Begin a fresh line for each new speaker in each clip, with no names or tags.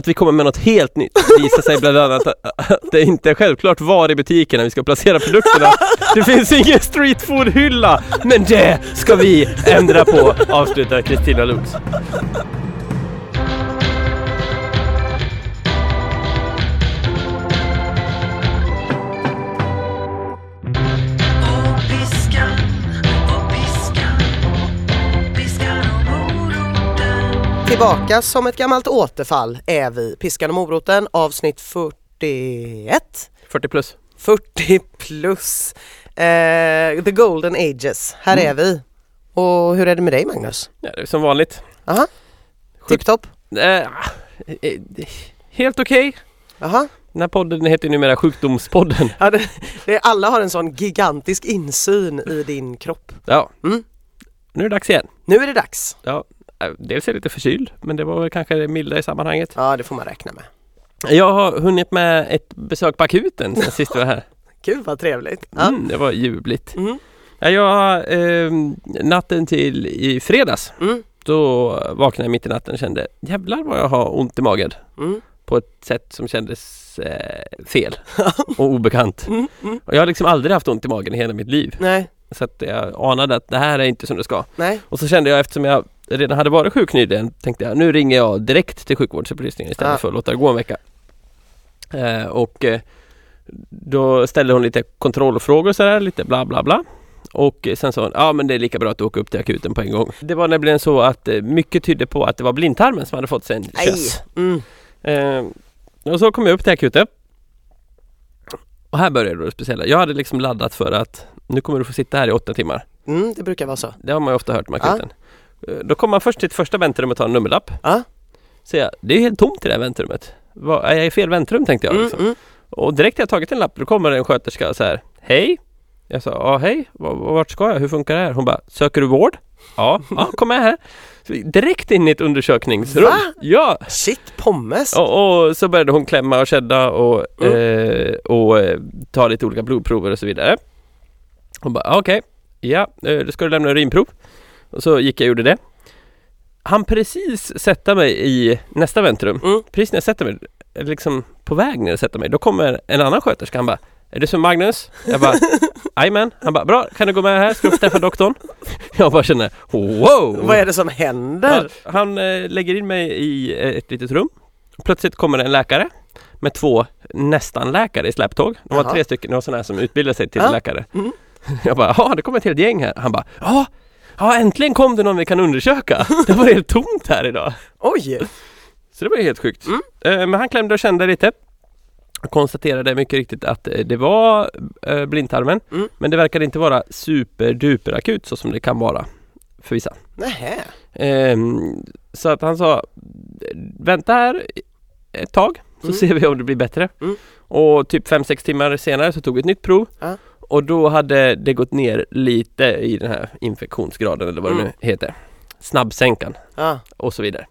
att vi kommer med något helt nytt. Det visar sig bland annat att att det inte är självklart var i butikerna vi ska placera produkterna. Det finns ingen streetfood-hylla, men det ska vi ändra på, avslutar Kristina Lux.
Och piskan, och piskan, piskan och moroten
Tillbaka som ett gammalt återfall är vi. Piskan och moroten avsnitt 41.
40 plus.
40 plus. Eh, the golden ages. Här är vi. Och hur är det med dig Magnus?
Ja, det är som vanligt.
Aha. Tipptopp?
Eh, eh, eh, helt okej.
Aha.
Den här podden heter ju numera Sjukdomspodden.
Ja, det, det, alla har en sån gigantisk insyn i din kropp.
Ja.
Mm.
Nu är det dags igen.
Nu är det dags.
Ja, eh, dels är jag lite förkyld, men det var väl kanske det milda i sammanhanget.
Ja, det får man räkna med.
Jag har hunnit med ett besök på akuten sen sist vi var här.
Gud vad trevligt. Ja.
Mm, det var ljuvligt.
Mm.
Ja, jag, eh, natten till i fredags,
Mm.
då vaknade jag mitt i natten och kände jävlar vad jag har ont i magen
Mm.
på ett sätt som kändes eh, fel och obekant. Och jag har liksom aldrig haft ont i magen i hela mitt liv.
Nej,
Så att jag anade att det här är inte som det ska.
nej.
Och så kände jag eftersom jag redan hade varit sjuk nyligen tänkte jag nu ringer jag direkt till sjukvårdsupplysningen istället
Ah.
för att låta det gå en vecka. Eh, och eh, då ställde hon lite kontrollfrågor och sådär, lite bla bla bla. Och eh, sen sa hon, ja men det är lika bra att du åker upp till akuten på en gång. Det var nämligen så att eh, mycket tydde på att det var blindtarmen som hade fått sig en
Aj.
köss.
Mm.
Eh, och så kom jag upp till akuten. Och här började det speciella. Jag hade liksom laddat för att nu kommer du få sitta här i åtta timmar.
Mm, det brukar vara så.
Det har man ju ofta hört med akuten. Eh, Då kommer man först till ett första väntrum och tar en nummerlapp.
Ja.
Säger jag, det är helt tomt i det här väntrummet. Vad- är jag i fel väntrum tänkte jag.
Mm,
Liksom.
mm.
Och direkt när jag tagit en lapp, då kommer en sköterska och så här. Hej! Jag sa, ja hej, V- vart ska jag? Hur funkar det här? Hon bara, söker du vård? Ja, ja kom med här. Så vi- direkt in i ett undersökningsrum.
Va?
Ja!
Shit, pommes.
Och, och så började hon klämma och kedda och,
Mm.
eh, och eh, ta lite olika blodprover och så vidare. Hon bara, "Ah, okej, ja, eh, då ska du lämna urinprov. Och så gick jag och gjorde det. Han precis sätta mig i nästa väntrum.
Mm.
Precis när jag sätter mig, eller liksom på väg ner att sätta mig, då kommer en annan sköterska. Han bara, är du som Magnus? Jag bara, jajamän. Han bara, bra, kan du gå med här? Ska du träffa doktorn? Jag bara känner, wow!
Mm. Vad är det som händer?
Ja, han eh, lägger in mig i eh, ett litet rum. Plötsligt kommer det en läkare med två nästan-läkare i släptåg. De var
Jaha.
tre stycken, det var sådana här som utbildade sig till
Ja.
läkare.
Mm.
Jag bara, ja det kommer ett helt gäng här. Han bara, ja, ja äntligen kom det någon vi kan undersöka. Det var helt tomt här idag.
Oj!
Så det var ju helt sjukt.
Mm.
Eh, Men han klämde och kände lite. Jag konstaterade mycket riktigt att eh, det var eh, blindtarmen.
Mm.
Men det verkade inte vara superduper akut så som det kan vara för vissa.
Nähä.
Ehm, så att han sa Vänta här ett tag så
Mm.
ser vi om det blir bättre.
Mm.
Och typ 5-6 timmar senare så tog vi ett nytt prov.
Ja.
Och då hade det gått ner lite i den här infektionsgraden eller vad det
Mm.
nu heter. Snabbsänkan
Ja.
och så vidare.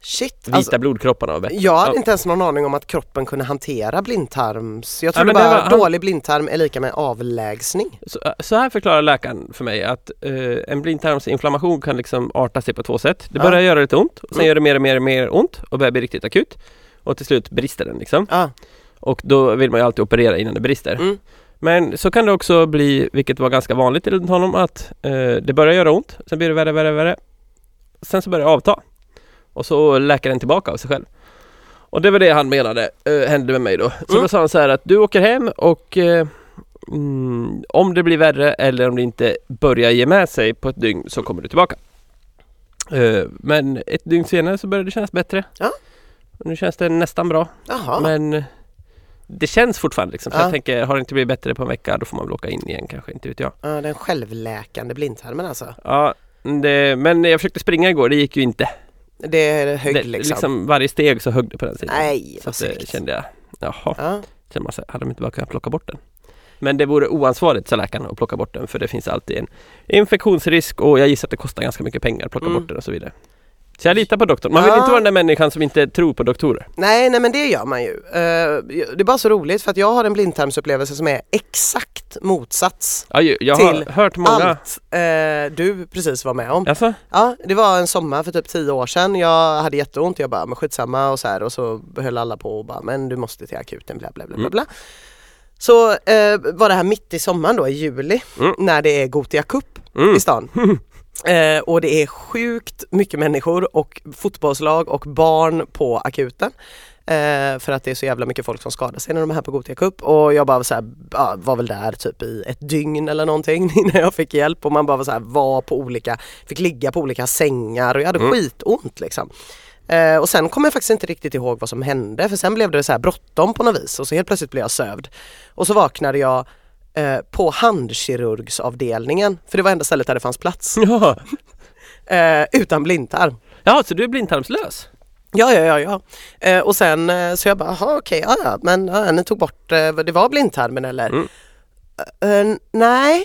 Shit.
Vita
Alltså,
blodkropparna var bättre.
jag hade
Ja.
inte ens någon aning om att kroppen kunde hantera blindtarms... Jag trodde
men det
bara
var- han-
dålig blindtarm är lika med avlägsning.
Så, äh, så här förklarar läkaren för mig att eh, en blindtarmsinflammation kan liksom arta sig på två sätt. Det
Ja.
börjar göra lite ont, och sen
Mm.
gör det mer och mer och mer ont och börjar bli riktigt akut. Och till slut brister den liksom.
Ja.
Och då vill man ju alltid operera innan det brister.
Mm.
Men så kan det också bli, vilket var ganska vanligt enligt honom, att eh, det börjar göra ont, sen blir det värre, värre, värre. Sen så börjar det avta. Och så läker den tillbaka av sig själv. Och det var det han menade eh, hände med mig då. Så
Mm.
då sa han så här att du åker hem och eh, mm, om det blir värre eller om det inte börjar ge med sig på ett dygn så kommer du tillbaka. Eh, men ett dygn senare så började det kännas bättre.
Ja.
Och nu känns det nästan bra.
Jaha.
Men det känns fortfarande liksom. Så
Ja.
jag tänker, har det inte blivit bättre på en vecka då får man väl åka in igen kanske, inte vet jag.
Ja, den självläkande blindtarmen alltså.
Ja, det, men jag försökte springa igår, det gick ju inte.
Det är högg
det,
liksom.
Varje steg så högg det på den sidan.
Nej,
så
vad
att, det
segt.
kände jag, jaha,
Ja.
kände man så här, hade de inte bara kunnat plocka bort den? Men det vore oansvarigt, sa läkaren, att plocka bort den för det finns alltid en infektionsrisk och jag gissar att det kostar ganska mycket pengar att plocka
Mm.
bort den och så vidare. Så jag litar på doktorn. Man vill
Ja.
inte vara den där människan som inte tror på doktorer.
Nej, nej men det gör man ju. Eh, det är bara så roligt för att jag har en blindtarmsupplevelse som är exakt motsats
Ja, ju- jag har
Till
hört många...
allt eh, du precis var med om.
Alltså?
Ja, det var en sommar för typ tio år sedan. Jag hade jätteont. Jag bara, men skitsamma och så här och så höll alla på och bara, men du måste till akuten bla bla bla bla.
Mm.
bla. Så eh, var det här mitt i sommaren då i juli
Mm.
när det är Gothia Cup
Mm.
i stan. Eh, och det är sjukt mycket människor och fotbollslag och barn på akuten. Eh, för att det är så jävla mycket folk som skadar sig när de är här på Gothia Cup och jag bara var så här, ja, var väl där typ i ett dygn eller någonting innan jag fick hjälp och man bara var så här, var på olika, fick ligga på olika sängar och jag hade skitont liksom. Eh, och sen kommer jag faktiskt inte riktigt ihåg vad som hände för sen blev det så här bråttom på något vis och så helt plötsligt blev jag sövd. Och så vaknade jag eh, på handkirurgsavdelningen för det var enda stället där det fanns plats
Ja.
eh, utan blindtarm.
ja, så du är blindtarmslös?
Ja, ja, ja, ja. Eh, och sen eh, så jag bara, jaha okej, ja, ja, men ja, ni tog bort, eh, det var blindtarmen eller?
Mm.
Eh, eh, nej.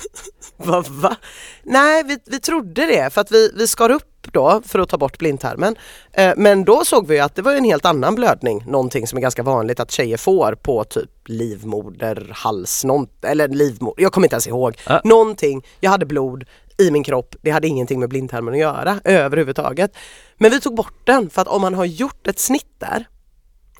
va, va? Nej, vi, vi trodde det för att vi, vi skar upp då för att ta bort blindtarmen. Eh, men då såg vi ju att det var ju en helt annan blödning, någonting som är ganska vanligt att tjejer får på typ livmoder, hals, någon, eller livmoder, jag kommer inte ens ihåg.
Ah.
Någonting, jag hade blod i min kropp, det hade ingenting med blindtarmen att göra överhuvudtaget. Men vi tog bort den för att om man har gjort ett snitt där,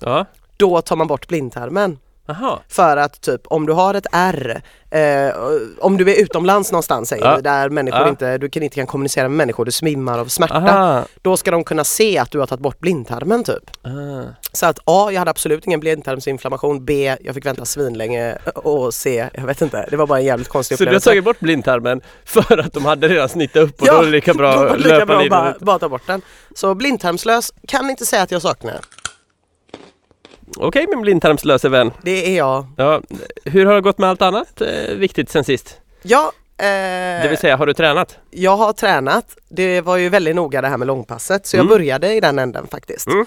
Ja.
då tar man bort blindtarmen.
Aha.
För att typ om du har ett R, eh, om du är utomlands någonstans säger
Ja.
vi, där människor
Ja.
inte, du kan inte kan kommunicera med människor, du svimmar av smärta.
Aha.
Då ska de kunna se att du har tagit bort blindtarmen typ.
Ah.
Så att A, jag hade absolut ingen blindtarmsinflammation, B, jag fick vänta svinlänge och C, jag vet inte, det var bara en jävligt konstig
Så du har
upplevelse.
tagit bort blindtarmen för att de hade redan snittat upp och då är det lika bra
då var
att
det lika
löpa
bra att
linjen
bara,
ut.
bara ta bort den. Så blindtarmslös, kan inte säga att jag saknar.
Okej min blindtarmslöse vän.
Det är jag.
Ja. Hur har det gått med allt annat eh, viktigt sen sist?
Ja,
Det
eh,
vill säga, har du tränat?
jag har tränat. Det var ju väldigt noga det här med långpasset så jag
Mm.
började i den änden faktiskt.
Mm.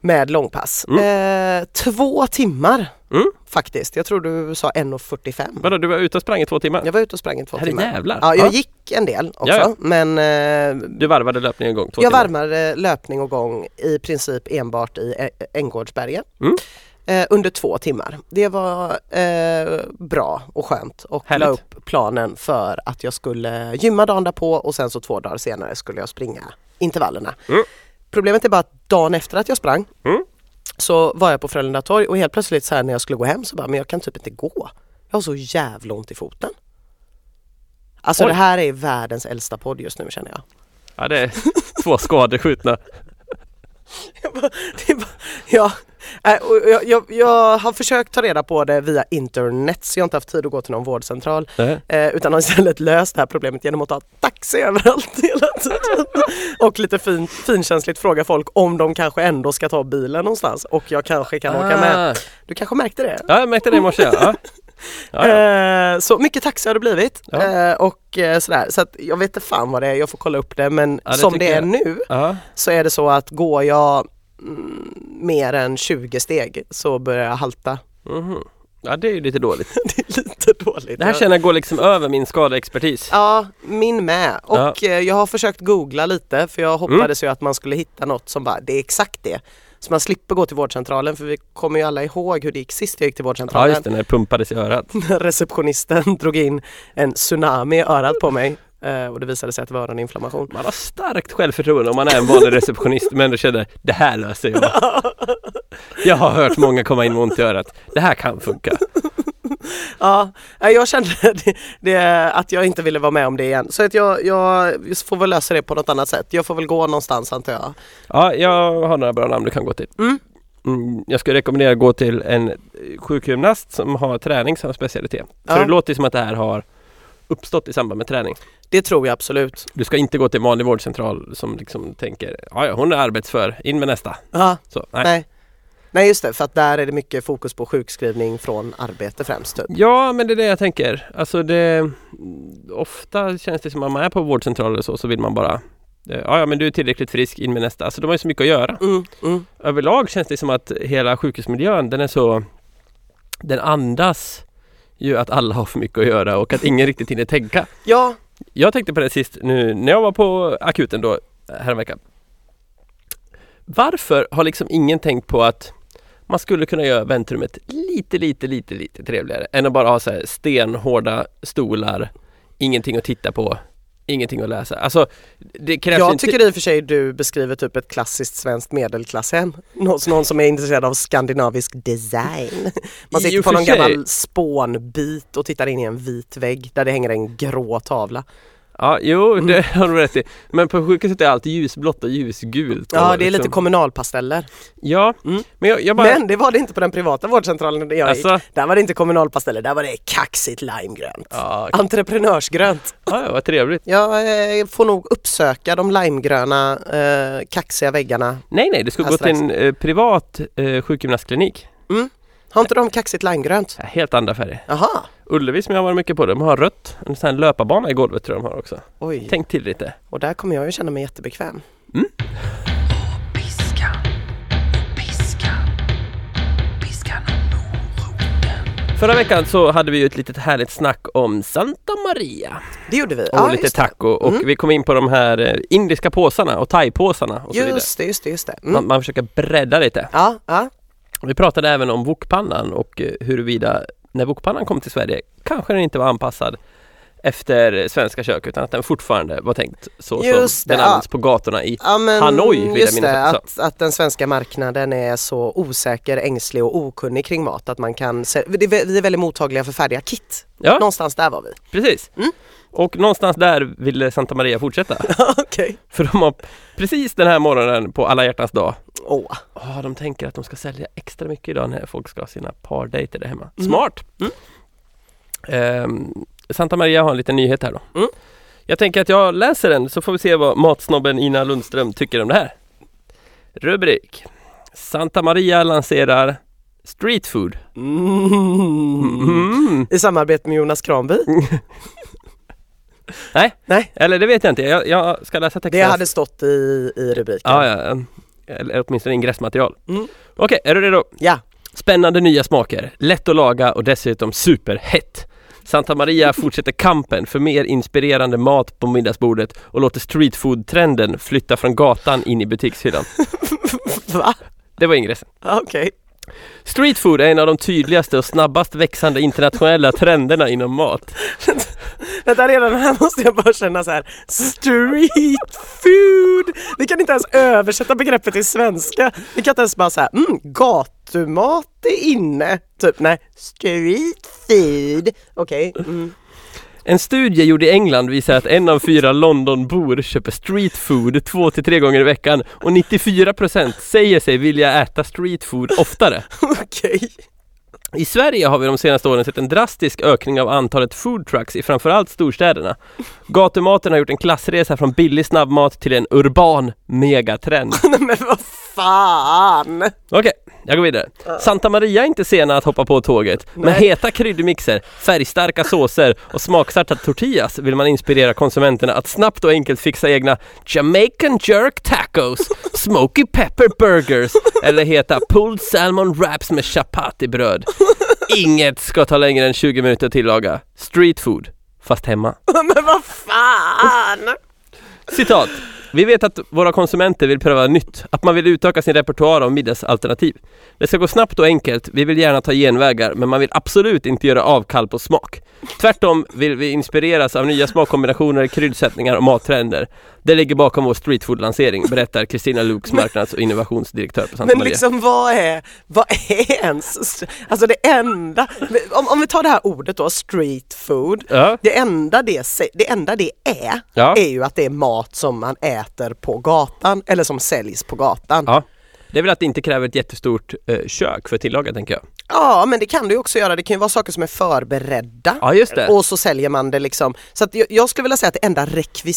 Med långpass. Eh, två timmar
Mm.
faktiskt. Jag tror du sa 1.45.
Vadå, du var ute och sprang i två timmar?
Jag var ute och sprang i två timmar.
Herrejävlar!
Ja, jag gick en del också
Ja, ja.
men eh,
Du varvade löpningen igång två
jag
timmar?
varmade löpning och gång i princip enbart i Ä- Änggårdsbergen.
Mm.
Eh, under två timmar. Det var eh, bra och skönt och la
Härligt.
upp planen för att jag skulle gymma dagen därpå och sen så två dagar senare skulle jag springa intervallerna.
Mm.
Problemet är bara att dagen efter att jag sprang
Mm.
så var jag på Frölunda torg och helt plötsligt så här när jag skulle gå hem så bara, men jag kan typ inte gå. Jag har så jävla ont i foten. Alltså
Oj.
det här är världens äldsta podd just nu känner jag.
Ja, det är två skadeskjutna.
Jag bara, det är bara, ja. Nej, och Jag, jag, jag har försökt ta reda på det via internet så jag har inte haft tid att gå till någon vårdcentral
Nej.
eh, utan har istället löst det här problemet genom att ta taxi överallt hela tiden och lite fin, finkänsligt fråga folk om de kanske ändå ska ta bilen någonstans och jag kanske kan åka med.
Ah.
Du kanske märkte det?
Ja, jag märkte det i morse. Ja. Ja. Ja, ja.
Eh, så mycket taxi har det blivit
Ja.
eh, och eh, sådär så att jag vet inte fan vad det är, jag får kolla upp det men
Ja, det
som det
tycker
är
jag.
nu
Ja.
så är det så att går jag mm, mer än 20 steg så börjar jag halta.
Mhm. ja, det är ju lite dåligt.
Det är lite dåligt.
Det här känner jag går liksom över min skadeexpertis.
Ja, min med. Och eh, jag har försökt googla lite för
Mm.
jag hoppades ju att man skulle hitta något som bara, det är exakt det. Så man slipper gå till vårdcentralen för vi kommer ju alla ihåg hur det gick sist jag gick till
Ja,
vårdcentralen.
just det, när det pumpades i örat.
när receptionisten drog in en tsunami i örat på mig eh, och det visade sig att det var öroninflammation.
Man har starkt självförtroende om man är en vanlig receptionist men du känner det här löser jag. Jag har hört många komma in med ont i örat. Det här kan funka.
Ja, nej, jag kände det, det, att jag inte ville vara med om det igen. Så att jag, jag får väl lösa det på något annat sätt. Jag får väl gå någonstans antar jag.
Ja, jag har några bra namn du kan gå till.
Mm.
Mm, jag skulle rekommendera att gå till en eh, sjukgymnast som har träning som specialitet. För
Ja.
det låter ju som att det här har uppstått i samband med träning.
Det tror jag absolut.
Du ska inte gå till en vanlig vårdcentral som liksom tänker ja, ja, hon är arbetsför, in med nästa.
Ja,
Så, nej.
nej. nej. just det, för att där är det mycket fokus på sjukskrivning från arbete främst. Typ.
Ja, men det är det jag tänker. Alltså det, ofta känns det som att man är på vårdcentraler och så, så vill man bara eh, Ja, ja, men du är tillräckligt frisk, in med nästa. Alltså de har ju så mycket att göra.
Mm, mm.
Överlag känns det som att hela sjukhusmiljön, den är så Den andas ju att alla har för mycket att göra och att ingen riktigt hinner tänka.
Ja,
Jag tänkte på det sist nu när jag var på akuten då häromveckan. Varför har liksom ingen tänkt på att man skulle kunna göra väntrummet lite, lite, lite, lite trevligare än att bara ha så här stenhårda stolar, ingenting att titta på, ingenting att läsa. Alltså, det krävs
Jag
inte...
tycker i och för sig du beskriver typ ett klassiskt svenskt medelklasshem. Någon, någon som är intresserad av skandinavisk design. Man
I
sitter
och
på
för
någon
sig.
gammal spånbit och tittar in i en vit vägg där det hänger en grå tavla.
Ja, jo,
Mm.
det har du rätt i. Men på sjukhuset är allt ljusblått och ljusgult. och
Ja det är lite
liksom-
kommunalpasteller.
Ja,
Mm.
men jag, jag bara...
Men det var det inte på den privata vårdcentralen där jag gick.
Alltså,
Där var det inte kommunalpasteller, där var det kaxigt limegrönt.
ja,
Entreprenörsgrönt.
ja, vad trevligt.
Jag eh, får nog uppsöka de limegröna eh, kaxiga väggarna.
Nej, nej, du ska
Ja,
gå till
strax.
en eh, privat eh, sjukgymnastklinik.
Har inte de kaxigt limegrönt?
Ja, Helt andra färger.
Aha,
Ullevi som jag har varit mycket på, de har rött. En sån här löparbana i golvet tror jag de har också.
oj.
Tänk till lite.
Och där kommer jag ju känna mig jättebekväm.
Piska, piska, piska någon moroten.
Förra veckan så hade vi ju ett litet härligt snack om Santa Maria.
Det gjorde vi.
Och lite
just det.
taco. Och
Mm.
vi kom in på de här eh, indiska påsarna och thaipåsarna och så vidare.
Just det, just det, just det. Mm.
Man, man försöker bredda lite.
Ja, ja.
Vi pratade även om wokpannan och eh, huruvida när wokpannan kom till Sverige kanske den inte var anpassad efter svenska kök utan att den fortfarande var tänkt så
Just
som
det, Ah.
den
ja.
används på gatorna i
ja men
Hanoi, vill jag
just
minnas
det,
att du
att, att den svenska marknaden är så osäker, ängslig och okunnig kring mat att man kan, se- det är vä- vi är väldigt mottagliga för färdiga kit.
Ja,
Någonstans där var vi.
precis.
Mm.
Och någonstans där ville Santa Maria fortsätta.
Okej.
För de har precis den här morgonen på alla hjärtans dag
Åh,
Ah, de tänker att de ska sälja extra mycket idag när folk ska ha sina pardejter där hemma. Smart!
Mm.
Ehm, Santa Maria har en liten nyhet här då.
Mm.
Jag tänker att jag läser den så får vi se vad matsnobben Ina Lundström tycker om det här. Rubrik Santa Maria lanserar Street food. Mm.
I samarbete med Jonas Kranby.
Eller det vet jag inte, jag, jag ska läsa texten.
Det hade stått i, i rubriken.
Ja, ja. ehm, Eller åtminstone ingressmaterial.
Mm.
Okej, är du redo?
Ja.
Spännande nya smaker, lätt att laga och dessutom superhett. Santa Maria fortsätter kampen för mer inspirerande mat på middagsbordet och låter streetfood-trenden flytta från gatan in i butikshyllan.
Va?
Det var ingressen.
Ja, Okej.
Streetfood är en av de tydligaste och snabbast växande internationella trenderna inom mat.
Vänta redan här måste jag bara känna så här. Street food! Vi kan inte ens översätta begreppet till svenska. Vi kan inte ens bara säga mm, gatumat är inne. Typ nej, street food. Okej. Mm.
En studie gjord i England visar att en av fyra Londonbor köper streetfood två till tre gånger i veckan och 94% säger sig vilja äta streetfood oftare.
Okej.
I Sverige har vi de senaste åren sett en drastisk ökning av antalet foodtrucks i framförallt storstäderna. Gatumaten har gjort en klassresa från billig snabbmat till en urban megatrend.
Nej men vad fan!
Okej, jag går vidare. Santa Maria är inte sena att hoppa på tåget. Med
Nej.
heta kryddmixer, färgstarka såser och smaksatta tortillas vill man inspirera konsumenterna att snabbt och enkelt fixa egna Jamaican jerk tacos, smoky pepper burgers eller heta pulled salmon wraps med chapatibröd. Inget ska ta längre än 20 minuter att tillaga. Street food, fast hemma.
Men vad fan!
Citat. Vi vet att våra konsumenter vill pröva nytt, att man vill utöka sin repertoar av middagsalternativ. Det ska gå snabbt och enkelt, vi vill gärna ta genvägar, men man vill absolut inte göra avkall på smak. Tvärtom vill vi inspireras av nya smakkombinationer, kryddsättningar och mattrender. Det ligger bakom vår streetfood-lansering, berättar Kristina Luks marknads och innovationsdirektör på Santa
Men
Maria.
liksom vad är, vad är ens, alltså det enda, om, om vi tar det här ordet då, street food.
Ja,
Det enda det, se- det enda det är,
ja,
är ju att det är mat som man äter på gatan eller som säljs på gatan.
Ja. det är väl att det inte kräver ett jättestort eh, kök för att tillaga, tänker jag.
Ja, men det kan du ju också göra. Det kan ju vara saker som är förberedda.
Ja, just det.
Och så säljer man det liksom. Så att jag, jag skulle vilja säga att det enda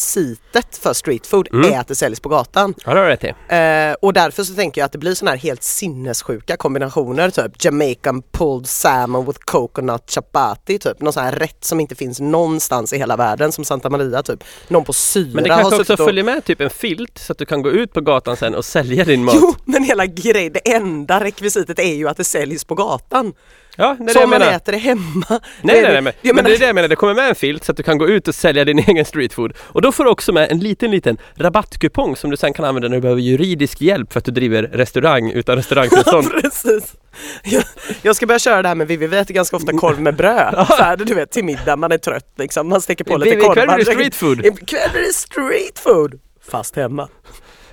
rekvisitet för street food
Mm.
är att det säljs på gatan.
Ja, det har du rätt i.
Eh, och därför så tänker jag att det blir såna här helt sinnessjuka kombinationer typ Jamaican pulled salmon with coconut chapati typ någon sån här rätt som inte finns någonstans i hela världen som Santa Maria typ någon på Syra
Men det
har
kanske också
suttit och...
följer med typ en filt så att du kan gå ut på gatan sen och sälja din mat.
Jo men hela grejen, det enda rekvisitet är ju att det säljs på gatan.
Ja, nej, det
så
jag
om man
menar.
äter det hemma.
Nej,
Det
nej,
är-
nej, men, men
jag menar-
det är det jag menar, det kommer med en filt så att du kan gå ut och sälja din egen streetfood. Och då får du också med en liten, liten rabattkupong som du sen kan använda när du behöver juridisk hjälp för att du driver restaurang utan restaurangtillstånd.
Precis. Jag, jag ska börja köra det här med Vivi, vi äter ganska ofta korv med bröd. Så här, du vet till middag, man är trött liksom, man steker på lite
Vivi,
korvar.
ikväll blir det streetfood.
Ikväll blir det streetfood! Fast hemma.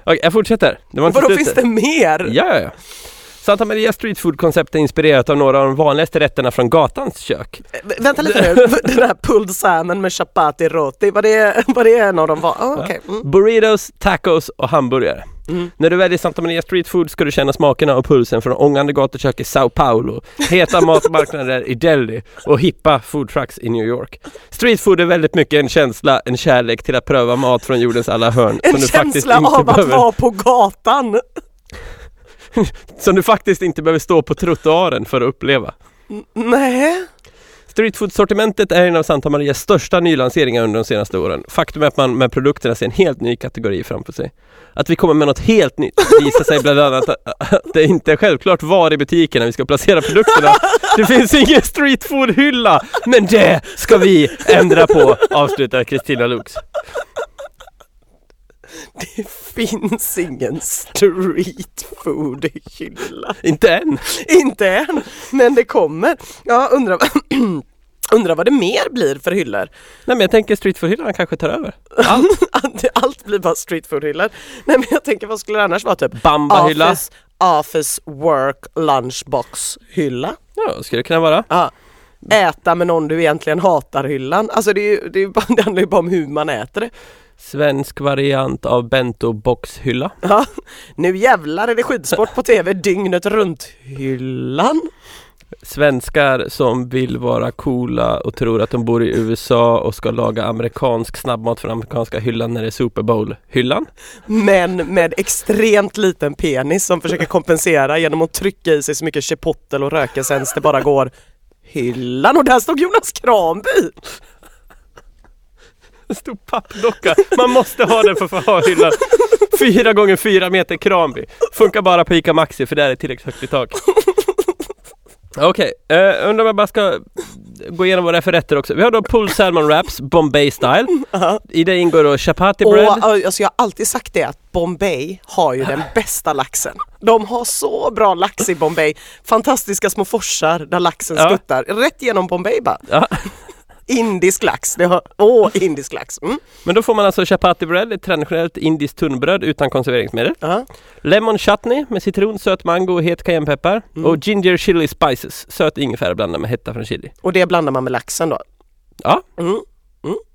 Okej, jag fortsätter. Det var inte
Vadå
slut
finns
där.
det mer?
Ja, ja, ja. Santa Maria streetfood-koncept är inspirerat av några av de vanligaste rätterna från gatans kök.
Eh, vä- Vänta lite nu, den här pulled salmon med chapati roti, var det, var det en av dem? Var? Ah, okej. mm.
Burritos, tacos och hamburgare. När du väljer Santa Maria Street Food ska du känna smakerna och pulsen från ångande gatukök i Sao Paulo, heta matmarknader i Delhi och hippa food trucks i New York. Street food är väldigt mycket en känsla, en kärlek till att pröva mat från jordens alla hörn
En känsla av att vara på gatan.
som du faktiskt inte behöver stå på trottoaren för att uppleva.
Nej.
Streetfood-sortimentet är en av Santa Marias största nylanseringar under de senaste åren. Faktum är att man med produkterna ser en helt ny kategori framför sig. Att vi kommer med något helt nytt visar sig bland annat att att det inte är självklart var i butikerna vi ska placera produkterna. Det finns ingen streetfood-hylla, men det ska vi ändra på, avslutar Kristina Lux.
Det finns ingen streetfood-hylla.
Inte än!
Inte än, men det kommer. Ja, undrar, undrar vad det mer blir för hyllor.
Nej men jag tänker streetfood-hyllan kanske tar över. Allt.
Allt, allt blir bara streetfood-hyllor. Nej men jag tänker vad skulle det annars vara typ?
Bamba-hylla.
Office, office work lunchbox-hylla.
Ja, skulle det kunna vara.
Ja. Äta med någon du egentligen hatar-hyllan. Alltså det, är ju, det, är ju bara, det handlar ju bara om hur man äter det.
Svensk variant av bento-box-hylla.
Ja. Nu jävlar är det skidsport på tv dygnet runt-hyllan.
svenskar som vill vara coola och tror att de bor i USA och ska laga amerikansk snabbmat från amerikanska hyllan när det är Super Bowl-hyllan.
Men med extremt liten penis som försöker kompensera genom att trycka i sig så mycket chipotle och rökesens det bara går. Hyllan och där stod Jonas Kranby!
En stor pappdocka. Man måste ha den för att få ha hyllan. Fyra gånger fyra meter Kranby. Funkar bara på ICA Maxi för där är det tillräckligt högt i tak. Okej, eh, undrar om jag bara ska gå igenom våra rätter också. Vi har då pulled salmon wraps, Bombay style. I det ingår då chapati
Och
bread.
alltså, jag har alltid sagt det att Bombay har ju den bästa laxen. De har så bra lax i Bombay. Fantastiska små forsar där laxen
Ja.
skuttar. Rätt genom Bombay bara.
Ja.
Indisk lax. Det har, åh, indisk lax. Mm.
Men då får man alltså chapati bread, ett traditionellt indiskt tunnbröd utan konserveringsmedel.
Ja.
Lemon chutney med citron, söt mango och het cayennepeppar.
Mm.
Och ginger chili spices, söt ingefära blandad med hetta från chili.
Och det blandar man med laxen då?
Ja,
Mm.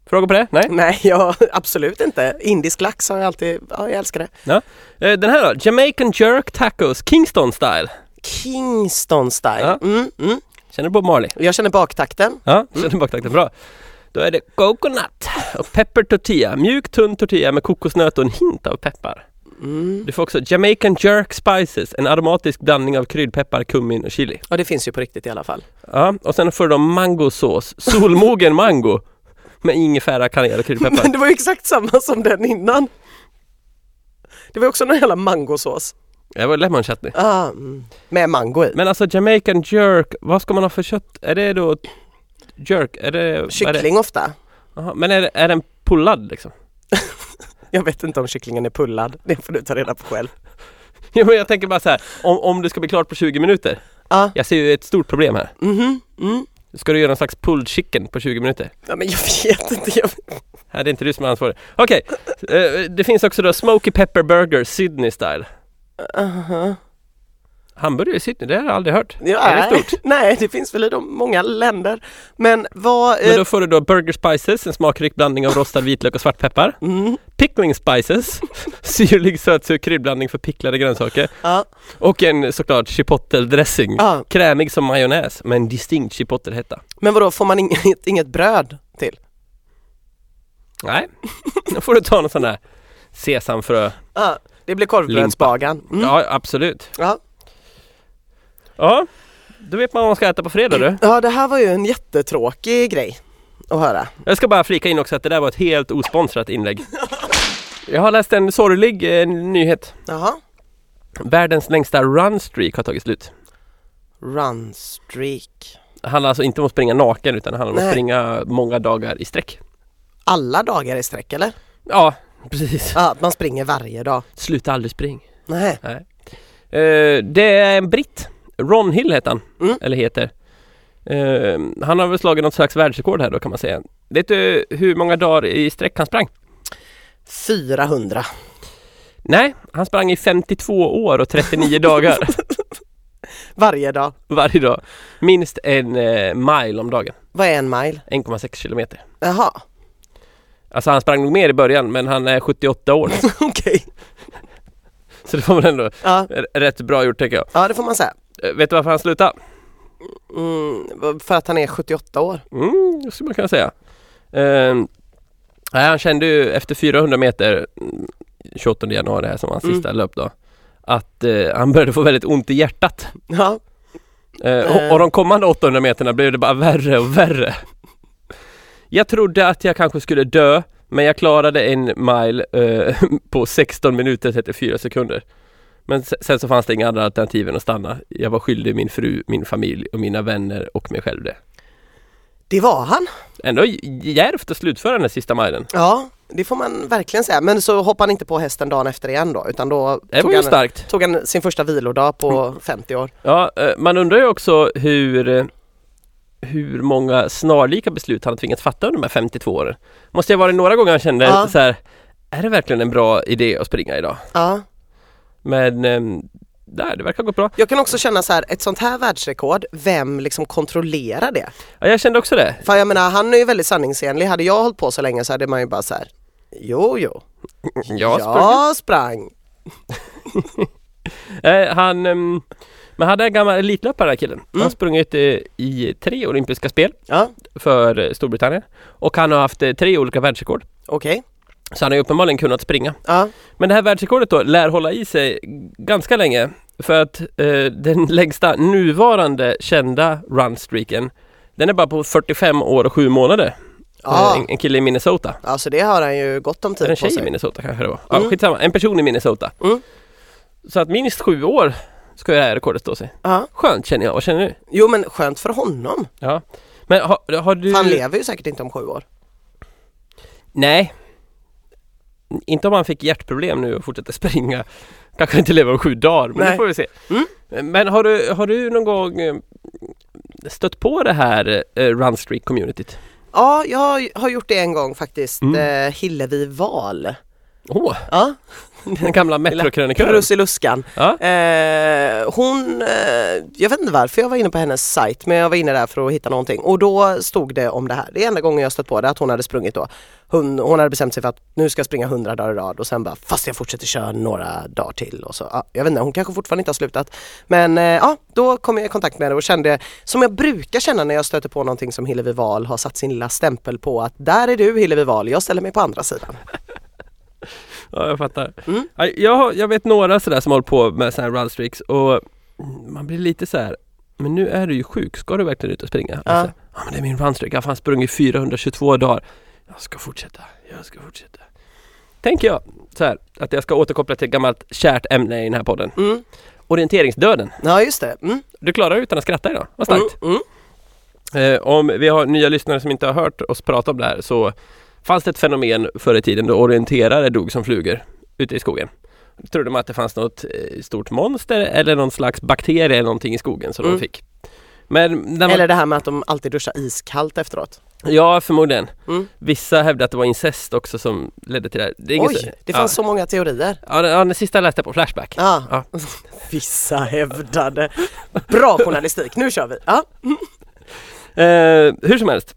frågor på det? Nej.
Nej, jag, absolut inte. Indisk lax har jag alltid, ja, jag älskar det.
Ja. Eh, Den här då, Jamaican jerk tacos, Kingston style.
Kingston style.
Ja.
Mm, mm.
Känner du Bob Marley?
Jag känner baktakten.
Ja, känner du baktakten? Bra. Då är det coconut och pepper tortilla. Mjuk tunn tortilla med kokosnöt och en hint av peppar.
Mm.
Du får också Jamaican jerk spices, en aromatisk blandning av kryddpeppar, kummin och chili.
Ja, det finns ju på riktigt i alla fall.
Ja, och sen får du då mangosås, solmogen mango med ingefära, kanel och kryddpeppar.
Men det var ju exakt samma som den innan. Det var också någon jävla mangosås.
Det var lemon chutney.
Ah, mm. Med mango i.
Men alltså Jamaican jerk, vad ska man ha för kött? Är det då jerk? Är det, vad Är det?
Kyckling ofta.
Jaha, men är, det- är den pullad liksom?
Jag vet inte om kycklingen är pullad. Det får du ta reda på själv.
Jo men jag tänker bara så här, om, om det ska bli klart på 20 minuter.
Ja.
Jag ser ju ett stort problem här.
Ah, Mhm, mm.
Ska du göra någon slags pulled chicken på 20 minuter?
Ja, men jag vet inte. Jag...
Här, det är inte du som är ansvarig. Okej, eh, det finns också då Smoky Pepper Burger Sydney style.
Aha.
Hamburgare i Sydney, det har jag aldrig hört.
Ja,
är det
nej.
stort?
nej, det finns väl i de många länder. Men vad... eh,
Men då får du då Burger Spices, en smakrik blandning av rostad vitlök och svartpeppar.
Mm.
Pickling Spices, syrlig sötsur kryddblandning för picklade grönsaker.
Ja.
Och en såklart chipotle-dressing.
Ja.
Krämig som majonnäs med en distinkt chipotle-hetta.
Men vadå, får man inget, inget bröd till?
Nej, då får du ta någon sån där sesamfrö.
Ja, det blir korvbrödsbagan. Mm.
Ja, absolut.
Ja.
Ja, då vet man vad man ska äta på fredag du.
ja, det här var ju en jättetråkig grej att höra.
Jag ska bara flika in också att det där var ett helt osponsrat inlägg. Jag har läst en sorglig eh, nyhet.
Jaha.
Världens längsta runstreak har tagit slut.
Runstreak.
Det handlar alltså inte om att springa naken utan det handlar om att
Nej.
springa många dagar i sträck.
Alla dagar i sträck eller?
Ja, precis.
Ja, att man springer varje dag.
Sluta aldrig spring.
Nej.
Eh, det är en britt. Ron Hill heter han.
Mm.
Eller heter. Eh, han har väl slagit något slags världsrekord här då kan man säga. Vet du hur många dagar i sträck han sprang?
400.
Nej, han sprang i 52 år och 39 dagar
Varje dag.
varje dag. Minst en eh, mile om dagen.
Vad är en mile?
1,6 kilometer.
Jaha,
Alltså han sprang nog mer i början men han är 78 år.
okej.
så det får man ändå
Ja.
r- rätt bra gjort tycker jag.
ja, det får man säga.
Eh, vet du varför han slutade?
Mm, för att han är 78 år.
Mm, det skulle man kunna säga. Eh, nej, han kände ju efter 400 meter, mm, 28 januari här som var hans
Mm.
sista löpdag, att eh, han började få väldigt ont i hjärtat.
Ja,
Eh, och, och de kommande 800 meterna blev det bara värre och värre. Jag trodde att jag kanske skulle dö, men jag klarade en mile eh, på 16 minuter och 34 sekunder. Men se- sen så fanns det inga andra alternativ än att stanna. Jag var skyldig min fru, min familj och mina vänner och mig själv det.
det var han.
Ändå j- djärvt att slutföra den här sista milen.
Ja, det får man verkligen säga. Men så hoppade han inte på hästen dagen efter igen då, utan då
Det var
tog
ju
han,
starkt.
tog han sin första vilodag på 50 år.
Ja, eh, man undrar ju också hur eh, hur många snarlika beslut han har tvingats fatta under de här 52 åren. Måste jag varit några gånger han kände
Ja.
så här, är det verkligen en bra idé att springa idag?
Ja.
Men ehm, där, det verkar ha gått bra.
Jag kan också känna så här, ett sånt här världsrekord, vem liksom kontrollerar det?
Ja, jag kände också det.
För jag menar, han är ju väldigt sanningsenlig. Hade jag hållit på så länge så hade man ju bara så här, jo jo,
Jag sprang.
jag sprang.
Eh, han, ehm, men han är en gammal elitlöpare den här
Mm.
killen. Han har sprungit eh, i tre olympiska spel
Ja,
för eh, Storbritannien och han har haft eh, tre olika världsrekord.
okej.
Så han har ju uppenbarligen kunnat springa.
Ja.
Men det här världsrekordet då lär hålla i sig ganska länge för att eh, den längsta nuvarande kända runstreaken den är bara på 45 år och 7 månader.
Ja.
Eh, En, en kille i Minnesota.
Ja, så det har han ju gott om
Är det en
tid Ah. på
tjej i
sig.
Minnesota kanske det var? Ja,
Mm.
skitsamma, en person i Minnesota.
Mm.
Så att minst 7 år ska det här rekordet stå sig.
Ja.
Skönt känner jag, vad känner du?
Jo men skönt för honom.
Ja. Men har, har du...
För han lever ju säkert inte om sju år.
Nej. Inte om han fick hjärtproblem nu och fortsätter springa. Kanske inte lever om sju dagar, men det
Nej.
får vi se. Men har du, har du någon gång eh, stött på det här eh, runstreak-communityt?
Ja, jag har- har gjort det en gång faktiskt.
Mm.
Eh, Hillevi Wahl.
Åh,
Ja,
den gamla metrokrönikören.
Prussiluskan.
Ja.
Eh, hon, eh, jag vet inte varför jag var inne på hennes sajt men jag var inne där för att hitta någonting och då stod det om det här. Det är enda gången jag stött på det att hon hade sprungit då. Hon, hon hade bestämt sig för att nu ska jag springa 100 dagar i rad och sen bara fast jag fortsätter köra några dagar till och så. Ja, jag vet inte, hon kanske fortfarande inte har slutat. Men eh, ja, då kom jag i kontakt med henne och kände som jag brukar känna när jag stöter på någonting som Hillevi Wahl har satt sin lilla stämpel på att där är du Hillevi Wahl, jag ställer mig på andra sidan. Mm,
Ja, jag fattar. Ja, Jag, har- jag vet några sådär som håller på med sådana här runstreaks och man blir lite så här. men nu är du ju sjuk, ska du verkligen ut och springa?
Ja.
Alltså, ja men det är min runstreak, jag har fan sprungit 422 dagar. Jag ska fortsätta, jag ska fortsätta. Tänker jag så här, att jag ska återkoppla till ett gammalt kärt ämne i den här podden.
Mm.
Orienteringsdöden.
Ja just det. Mm.
Du klarar det utan att skratta idag, vad starkt.
Mm, mm.
Eh, om vi har nya lyssnare som inte har hört oss prata om det här så fanns det ett fenomen förr i tiden då orienterare dog som flugor ute i skogen. Då trodde man att det fanns något eh, stort monster eller någon slags bakterie eller någonting i skogen som
Mm.
de fick. Men när man,
Eller det här med att de alltid duschar iskallt efteråt.
ja, förmodligen.
Mm.
Vissa hävdade att det var incest också som ledde till det här. Det är ingen så-
Oj, det fanns så många teorier.
ja. Ja, den, ja, den sista läste jag på Flashback.
Ja.
Ja.
Vissa hävdade. Bra journalistik, nu kör vi. Ja.
Eh, hur som helst.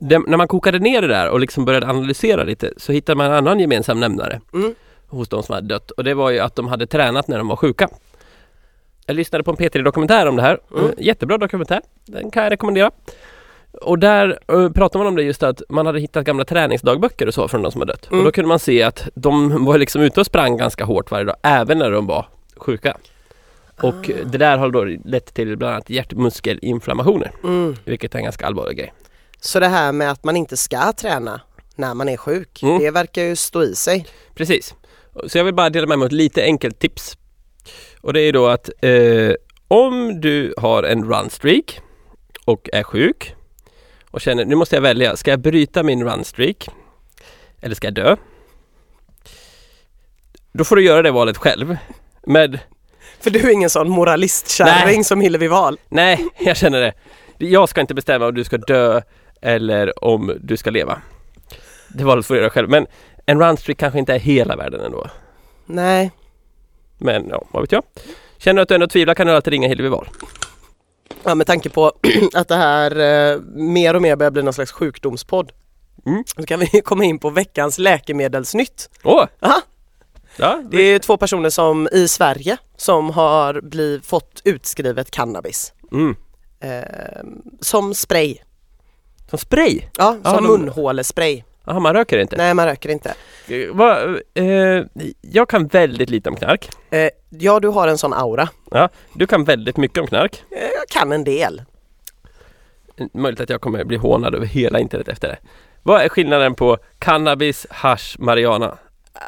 Dem- när man kokade ner det där och liksom började analysera lite så hittade man en annan gemensam nämnare
Mm.
hos de som hade dött och det var ju att de hade tränat när de var sjuka. Jag lyssnade på en P3 Dokumentär om det här.
Mm.
Eh, Jättebra dokumentär. Den kan jag rekommendera. Och där eh, pratar man om det just att man hade hittat gamla träningsdagböcker och så från de som hade dött.
Mm.
Och då kunde man se att de var liksom ute och sprang ganska hårt varje dag även när de var sjuka. Och
Ah.
eh, det där har då lett till bland annat hjärtmuskelinflammationer.
Mm.
Vilket är en ganska allvarlig grej.
Så det här med att man inte ska träna när man är sjuk,
Mm.
det verkar ju stå i sig.
Precis. Så jag vill bara dela med mig av ett lite enkelt tips. Och det är då att eh, om du har en runstreak och är sjuk och känner nu måste jag välja, ska jag bryta min runstreak eller ska jag dö? Då får du göra det valet själv. Med
För du är ingen sån moralistkärring
Nej.
som Hillevi Wahl.
nej, jag känner det. Jag ska inte bestämma om du ska dö eller om du ska leva. Det valet får du göra själv. Men en runstreak kanske inte är hela världen ändå.
Nej.
Men ja, vad vet jag. Känner du att du ändå tvivlar kan du alltid ringa Hillevi Wahl.
Ja, med tanke på att det här eh, mer och mer börjar bli någon slags sjukdomspodd.
Mm.
Så kan vi komma in på veckans läkemedelsnytt.
Åh!
Aha.
Ja,
Det är två personer som i Sverige som har bliv, fått utskrivet cannabis.
mm.
Eh, som spray.
Som spray?
Ja,
Ja,
som
de-
munhålespray.
Jaha, man röker inte?
Nej, man röker inte.
Eh, Va, eh, jag kan väldigt lite om knark.
Eh, ja, du har en sån aura.
Ja, du kan väldigt mycket om knark.
Eh, jag kan en del.
Eh, Möjligt att jag kommer bli hånad över hela internet efter det. Vad är skillnaden på cannabis, hasch, marijuana?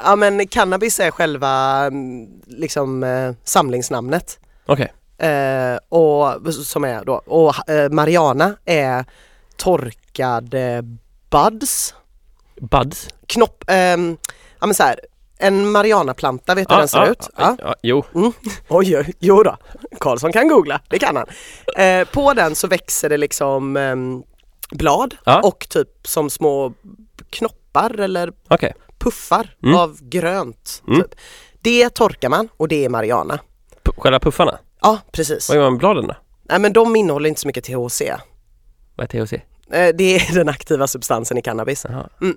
Ja, men cannabis är själva mm, liksom eh, samlingsnamnet.
Okej.
Eh, och, som är då, och eh, Mariana är torkade buds,
Buds?
knopp, ehm, ja men så här, en marianaplanta vet du hur den ser ut?
Ja. ja, jo.
Oj, oj, jo då. Karlsson kan googla, det kan han. Eh, på den så växer det liksom ehm, blad
Ja.
och typ som små knoppar eller
Okej.
puffar
Mm.
av grönt.
Mm.
Typ. Det torkar man och det är marijuana.
P- Själva puffarna?
Ja, precis.
Vad gör man med bladen då?
Nej men de innehåller inte så mycket THC.
Vad är THC?
Eh, Det är den aktiva substansen i cannabis.
Jaha.
Mm.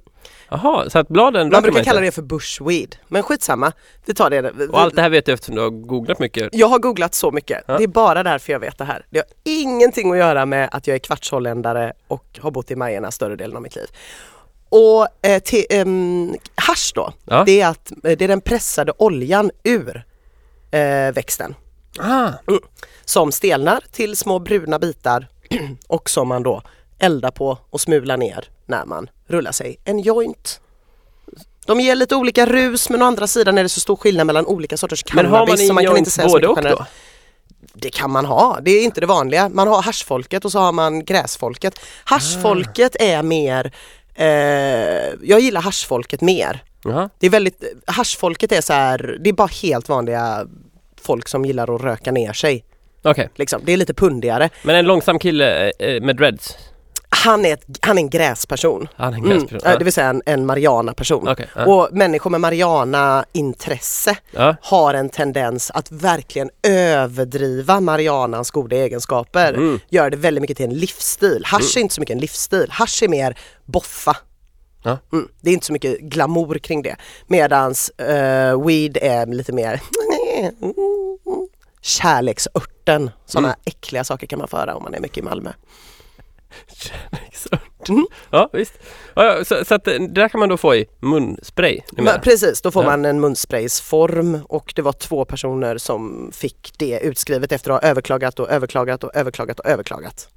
Jaha, så att bladen
Man
röker
brukar
inte?
kalla det för bushweed, men skitsamma. Vi tar det. Vi-
Och allt det här vet du eftersom du har googlat mycket.
Jag har googlat så mycket.
Ja.
Det är bara därför jag vet det här. Det har ingenting att göra med att jag är kvartsholländare och har bott i Majerna större delen av mitt liv. Och eh, te, ehm, hasch då,
Ja.
det, är att, eh, det är den pressade oljan ur eh, växten
Ah.
som stelnar till små bruna bitar och som man då eldar på och smular ner när man rullar sig en joint. De ger lite olika rus men å andra sidan är det så stor skillnad mellan olika sorters
Men har man
cannabis så
en
man kan inte
joint
säga så
både
mycket
och
generellt.
då?
Det kan man ha, det är inte det vanliga. Man har haschfolket och så har man gräsfolket. Haschfolket
Ah.
är mer, eh, jag gillar haschfolket mer.
Jaha.
Det är väldigt, haschfolket är så här, det är bara helt vanliga folk som gillar att röka ner sig.
Okej.
Liksom. Det är lite pundigare.
Men en långsam kille eh, med dreads?
Han är, ett, han är en gräsperson.
Han är en
Mm.
gräsperson.
eh, Det vill säga en, en Mariana-person.
Okej, ja.
Och människor med Mariana-intresse
Ja.
har en tendens att verkligen överdriva Marianans goda egenskaper.
Mm.
Gör det väldigt mycket till en livsstil. Hasch är inte så mycket en livsstil. Hasch är mer boffa.
Ja.
Mm. Det är inte så mycket glamour kring det. Medans eh, weed är lite mer kärleksörten. Sådana
Mm.
äckliga saker kan man föra om man är mycket i Malmö.
Kärleksört. Ja, visst. Ja, ja, så, så att eh, det där kan man då få i munspray? du menar?
Men, precis, då får
Ja.
man en munspraysform och det var två personer som fick det utskrivet efter att ha överklagat och överklagat och överklagat och överklagat.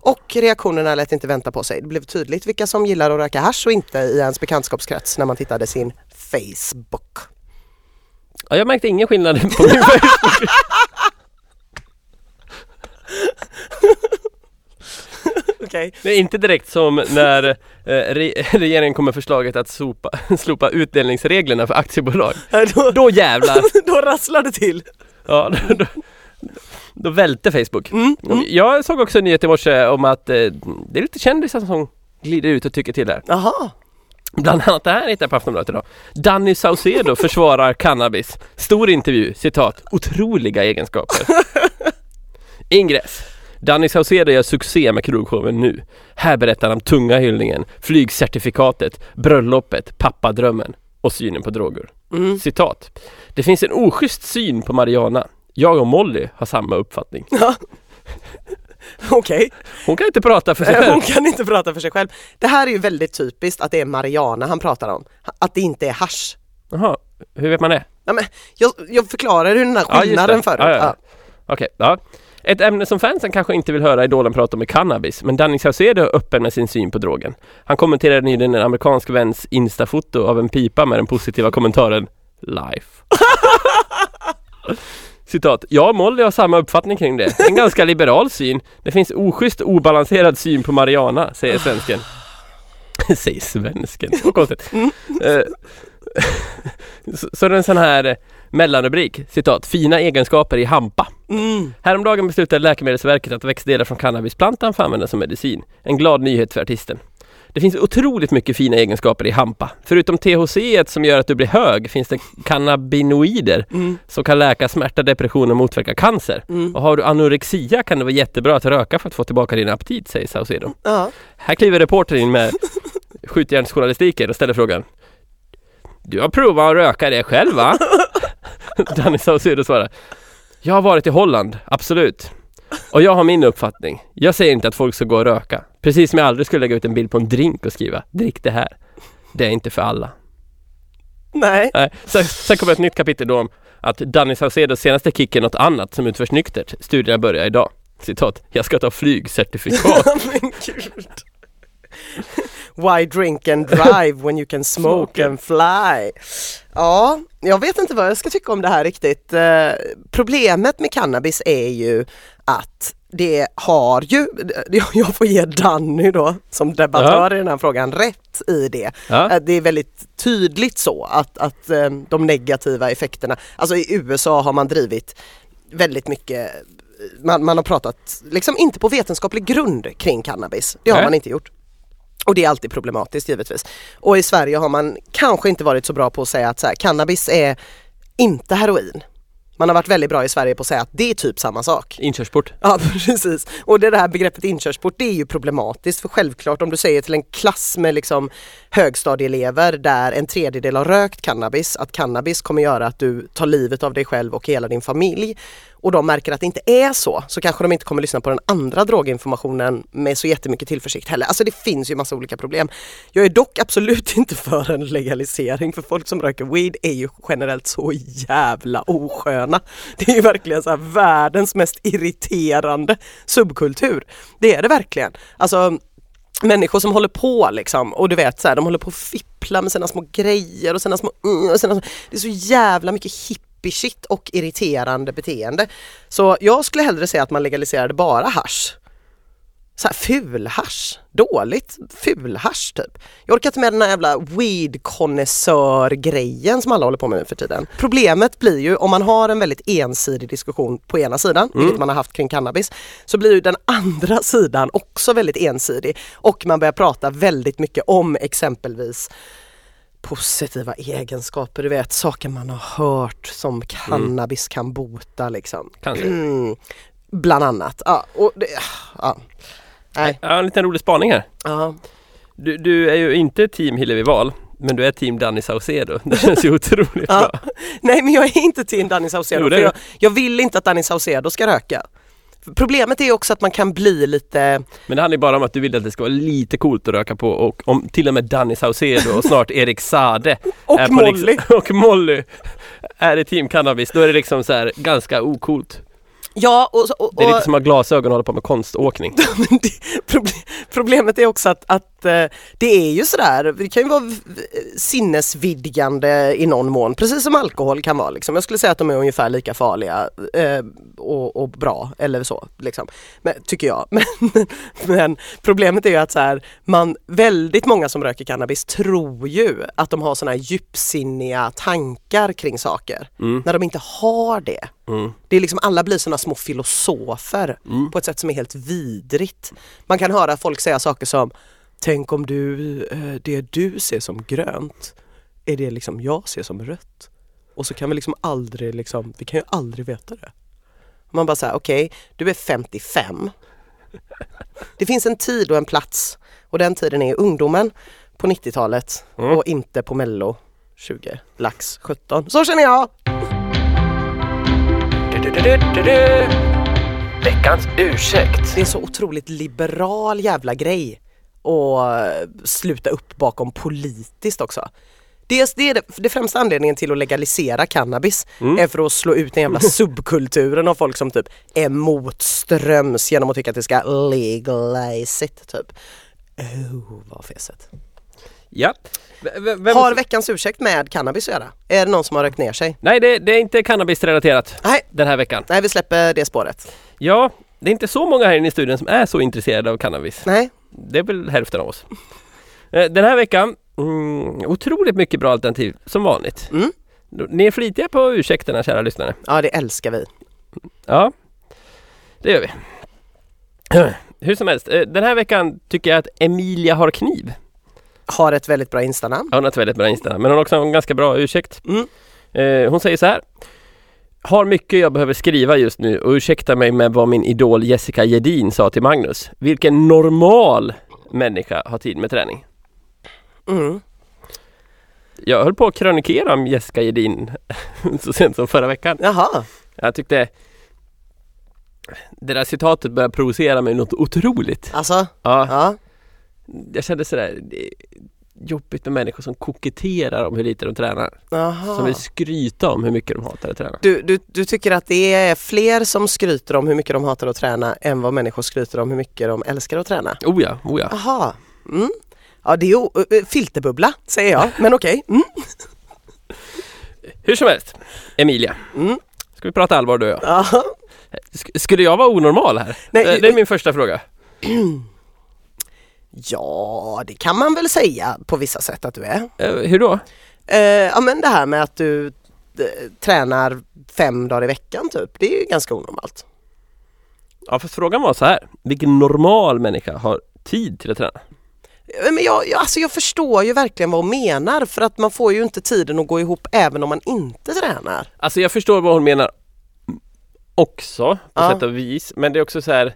Och reaktionerna lät inte vänta på sig. Det blev tydligt vilka som gillar att röka hasch och inte i ens bekantskapskrets när man tittade sin Facebook.
Ja, jag märkte ingen skillnad på min Facebook.
Okej.
Det är inte direkt som när eh, re- regeringen kommer förslaget att sopa, slopa utdelningsreglerna för aktiebolag.
eh, Då,
Då jävlar!
då rasslar det till.
Ja, då, då, då välte Facebook.
Mm.
Jag såg också en nyhet i morse om att eh, det är lite kändisar som glider ut och tycker till där.
Jaha.
Bland annat det här hittade jag på Aftonbladet idag. Danny Saucedo försvarar cannabis. Stor intervju, citat, otroliga egenskaper. Ingress. Danny Saucedo gör succé med krogshowen nu. Här berättar han om tunga hyllningen, flygcertifikatet, bröllopet, pappadrömmen och synen på droger.
Mm.
Citat. Det finns en oschysst syn på Mariana. Jag och Molly har samma uppfattning.
Okej,
Hon kan inte prata för sig
Eh,
själv.
hon kan inte prata för sig själv. Det här är ju väldigt typiskt att det är Mariana han pratar om. Att det inte är hasch.
Jaha, hur vet man det?
Ja, men jag, jag förklarade ju den här
Ja, just
skillnaden
det.
förut.
Ja, ja, ja.
Ja.
Okej, ja. Ett ämne som fansen kanske inte vill höra idolen prata om är cannabis, men Danny Saucedo är öppen med sin syn på drogen. Han kommenterade nyligen en amerikansk väns instafoto av en pipa med den positiva kommentaren “Life”. Citat, jag och Molly har samma uppfattning kring det. En ganska liberal syn. Det finns oschysst och obalanserad syn på Mariana, säger svensken. säger svensken, så konstigt.
Mm.
Eh, så, så det är en sån här eh, mellanrubrik, citat, fina egenskaper i hampa.
Mm.
Häromdagen beslutade Läkemedelsverket att växtdelar från cannabisplantan får användas som medicin. En glad nyhet för artisten. Det finns otroligt mycket fina egenskaper i hampa. Förutom THC et som gör att du blir hög finns det cannabinoider
Mm.
som kan läka smärta, depression och motverka cancer.
Mm.
Och har du anorexia kan det vara jättebra att röka för att få tillbaka din aptit, säger Saucedo.
Ja.
Här kliver reportern in med skjutjärnsjournalistiken och ställer frågan. Du har provat att röka det själv va? Danny Saucedo svarar. Jag har varit i Holland, absolut. Och jag har min uppfattning. Jag säger inte att folk ska gå och röka. Precis som jag aldrig skulle lägga ut en bild på en drink och skriva drick det här. Det är inte för alla.
Nej.
Nej. Sen, sen kommer ett nytt kapitel då om att Danny Saucedos senaste kick är något annat som utförs nyktert. Studierna börjar idag. Citat, jag ska ta flygcertifikat.
Men gud. Why drink and drive when you can smoke and fly? Ja, jag vet inte vad jag ska tycka om det här riktigt. Eh, problemet med cannabis är ju att det har ju, eh, jag får ge Danny då som debattör i den här frågan rätt i det.
Ja.
Eh, Det är väldigt tydligt så att, att eh, de negativa effekterna, alltså i USA har man drivit väldigt mycket man, man har pratat, liksom inte på vetenskaplig grund kring cannabis. Det har
Nej.
man inte gjort. Och det är alltid problematiskt givetvis. Och i Sverige har man kanske inte varit så bra på att säga att så här, cannabis är inte heroin. Man har varit väldigt bra i Sverige på att säga att det är typ samma sak.
Inkörsport.
Ja precis. Och det där begreppet inkörsport det är ju problematiskt för självklart om du säger till en klass med liksom högstadieelever där en tredjedel har rökt cannabis att cannabis kommer göra att du tar livet av dig själv och hela din familj och de märker att det inte är så så kanske de inte kommer lyssna på den andra droginformationen med så jättemycket tillförsikt heller. Alltså det finns ju massa olika problem. Jag är dock absolut inte för en legalisering för folk som röker weed är ju generellt så jävla osköna. Det är ju verkligen så här världens mest irriterande subkultur. Det är det verkligen. Alltså människor som håller på liksom och du vet så här, de håller på och fippla med sina små grejer och sina små, mm, och sina små det är så jävla mycket hippie-shit och irriterande beteende. Så jag skulle hellre säga att man legaliserade bara hasch. Så här fulhasch, dåligt fulhasch typ. Jag orkar inte med den här jävla weed grejen som alla håller på med nu för tiden. Problemet blir ju om man har en väldigt ensidig diskussion på ena sidan, vilket man har haft kring cannabis, så blir ju den andra sidan också väldigt ensidig och man börjar prata väldigt mycket om exempelvis positiva egenskaper, du vet saker man har hört som cannabis kan bota liksom.
Kanske.
Mm. Bland annat. Ja, och det, ja. Nej.
Ja, en liten rolig spaning här.
Ja.
Du, du är ju inte team Hillevi Wahl, men du är team Danny Saucedo. Det känns ju otroligt
Ja.
bra.
Nej men jag är inte team Danny Saucedo
Jo, det
för
är
jag, jag vill inte att Danny Saucedo ska röka. Problemet är också att man kan bli lite,
Men det handlar ju bara om att du vill att det ska vara lite coolt att röka på och om till och med Danny Saucedo och snart Erik Sade
Och
är på
Molly.
riks- och Molly är i team cannabis, då är det liksom så här ganska ocoolt.
ja och, och, och
Det är lite som att ha glasögon och hålla på med konståkning.
Men det, proble- problemet är också att, att eh, det är ju sådär, det kan ju vara v- sinnesvidgande i någon mån, precis som alkohol kan vara. Liksom. Jag skulle säga att de är ungefär lika farliga eh, och, och bra, eller så, liksom. men, tycker jag. Men, men problemet är ju att så här, man, väldigt många som röker cannabis tror ju att de har sådana djupsinniga tankar kring saker, när de inte har det. Det är liksom, alla blir sådana små filosofer på ett sätt som är helt vidrigt. Man kan höra folk säga saker som Tänk om du, eh, det du ser som grönt är det liksom jag ser som rött. Och så kan vi liksom aldrig liksom, vi kan ju aldrig veta det. Man bara säger okej, du är 55. Det finns en tid och en plats och den tiden är ungdomen på 90-talet och inte på mello 20, lax 17. Så känner jag!
Veckans ursäkt.
Det är så otroligt liberal jävla grej att sluta upp bakom politiskt också. Dels det är det, det främsta anledningen till att legalisera cannabis är för att slå ut den jävla subkulturen av folk som typ är motströms genom att tycka att det ska legalize it typ. Oh, vad feset.
Ja. V- v- vem...
Har veckans ursäkt med cannabis att göra? Är det någon som har rökt ner sig?
Nej, det, det är inte cannabisrelaterat
Nej,
den här veckan.
nej vi släpper det spåret.
Ja, det är inte så många här inne i studion som är så intresserade av cannabis.
Nej,
Det är väl hälften av oss. Eh, Den här veckan, mm, otroligt mycket bra alternativ som vanligt.
Mm.
Ni är flitiga på ursäkterna kära lyssnare.
ja det älskar vi.
Ja, det gör vi. Hur som helst, eh, den här veckan tycker jag att Emilia har kniv.
Har ett väldigt bra instanamn.
Hon har ett väldigt bra Instagram, men hon har också en ganska bra ursäkt.
Mm.
Eh, Hon säger så här. Har mycket jag behöver skriva just nu och ursäkta mig med vad min idol Jessica Jedin sa till Magnus. Vilken normal människa har tid med träning.
Mm.
Jag höll på att krönikera om Jessica Jedin så sent som förra veckan.
Jaha,
Jag tyckte det där citatet började provocera mig något otroligt.
alltså.
Ja,
Ja.
jag kände sådär, det är jobbigt med människor som koketterar om hur lite de tränar. Som
Jaha.
vill skryta om hur mycket de hatar att träna.
Du, du, du tycker att det är fler som skryter om hur mycket de hatar att träna än vad människor skryter om hur mycket de älskar att träna?
Oh ja, oh ja.
Jaha. Mm. Ja det är o- ö- filterbubbla säger jag, men okej. Mm.
Hur som helst, Emilia.
Mm.
Ska vi prata allvar du och jag?
Ja.
Sk- skulle jag vara onormal här?
Nej,
Eh, det är min första fråga.
ja, det kan man väl säga på vissa sätt att du är.
Eh, hur då?
Eh, ja men det här med att du eh, tränar fem dagar i veckan typ, det är ju ganska onormalt.
Ja, fast frågan var så här. Vilken normal människa har tid till att träna?
Eh, Men jag, jag, alltså jag förstår ju verkligen vad hon menar för att man får ju inte tiden att gå ihop även om man inte tränar.
Alltså jag förstår vad hon menar också på
Ja.
sätt och vis men det är också så här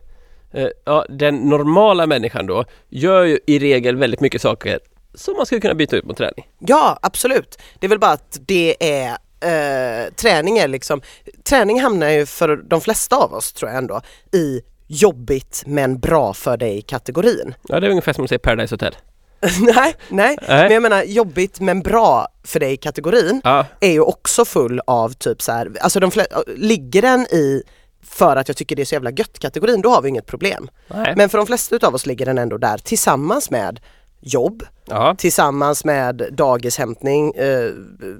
eh, Ja, den normala människan då gör ju i regel väldigt mycket saker som man skulle kunna byta ut mot träning.
Ja absolut, det är väl bara att det är eh, träning är liksom, träning hamnar ju för de flesta av oss tror jag ändå i jobbigt men bra för dig kategorin.
Ja, det är ungefär som att säga Paradise Hotel.
nej, nej,
Nej.
men jag menar jobbigt men bra för dig kategorin
Ja,
är ju också full av typ så här, alltså de flesta, ligger den i för att jag tycker det är så jävla gött kategorin, då har vi inget problem.
nej.
Men för de flesta utav oss ligger den ändå där tillsammans med jobb,
ja,
tillsammans med dagishämtning, eh,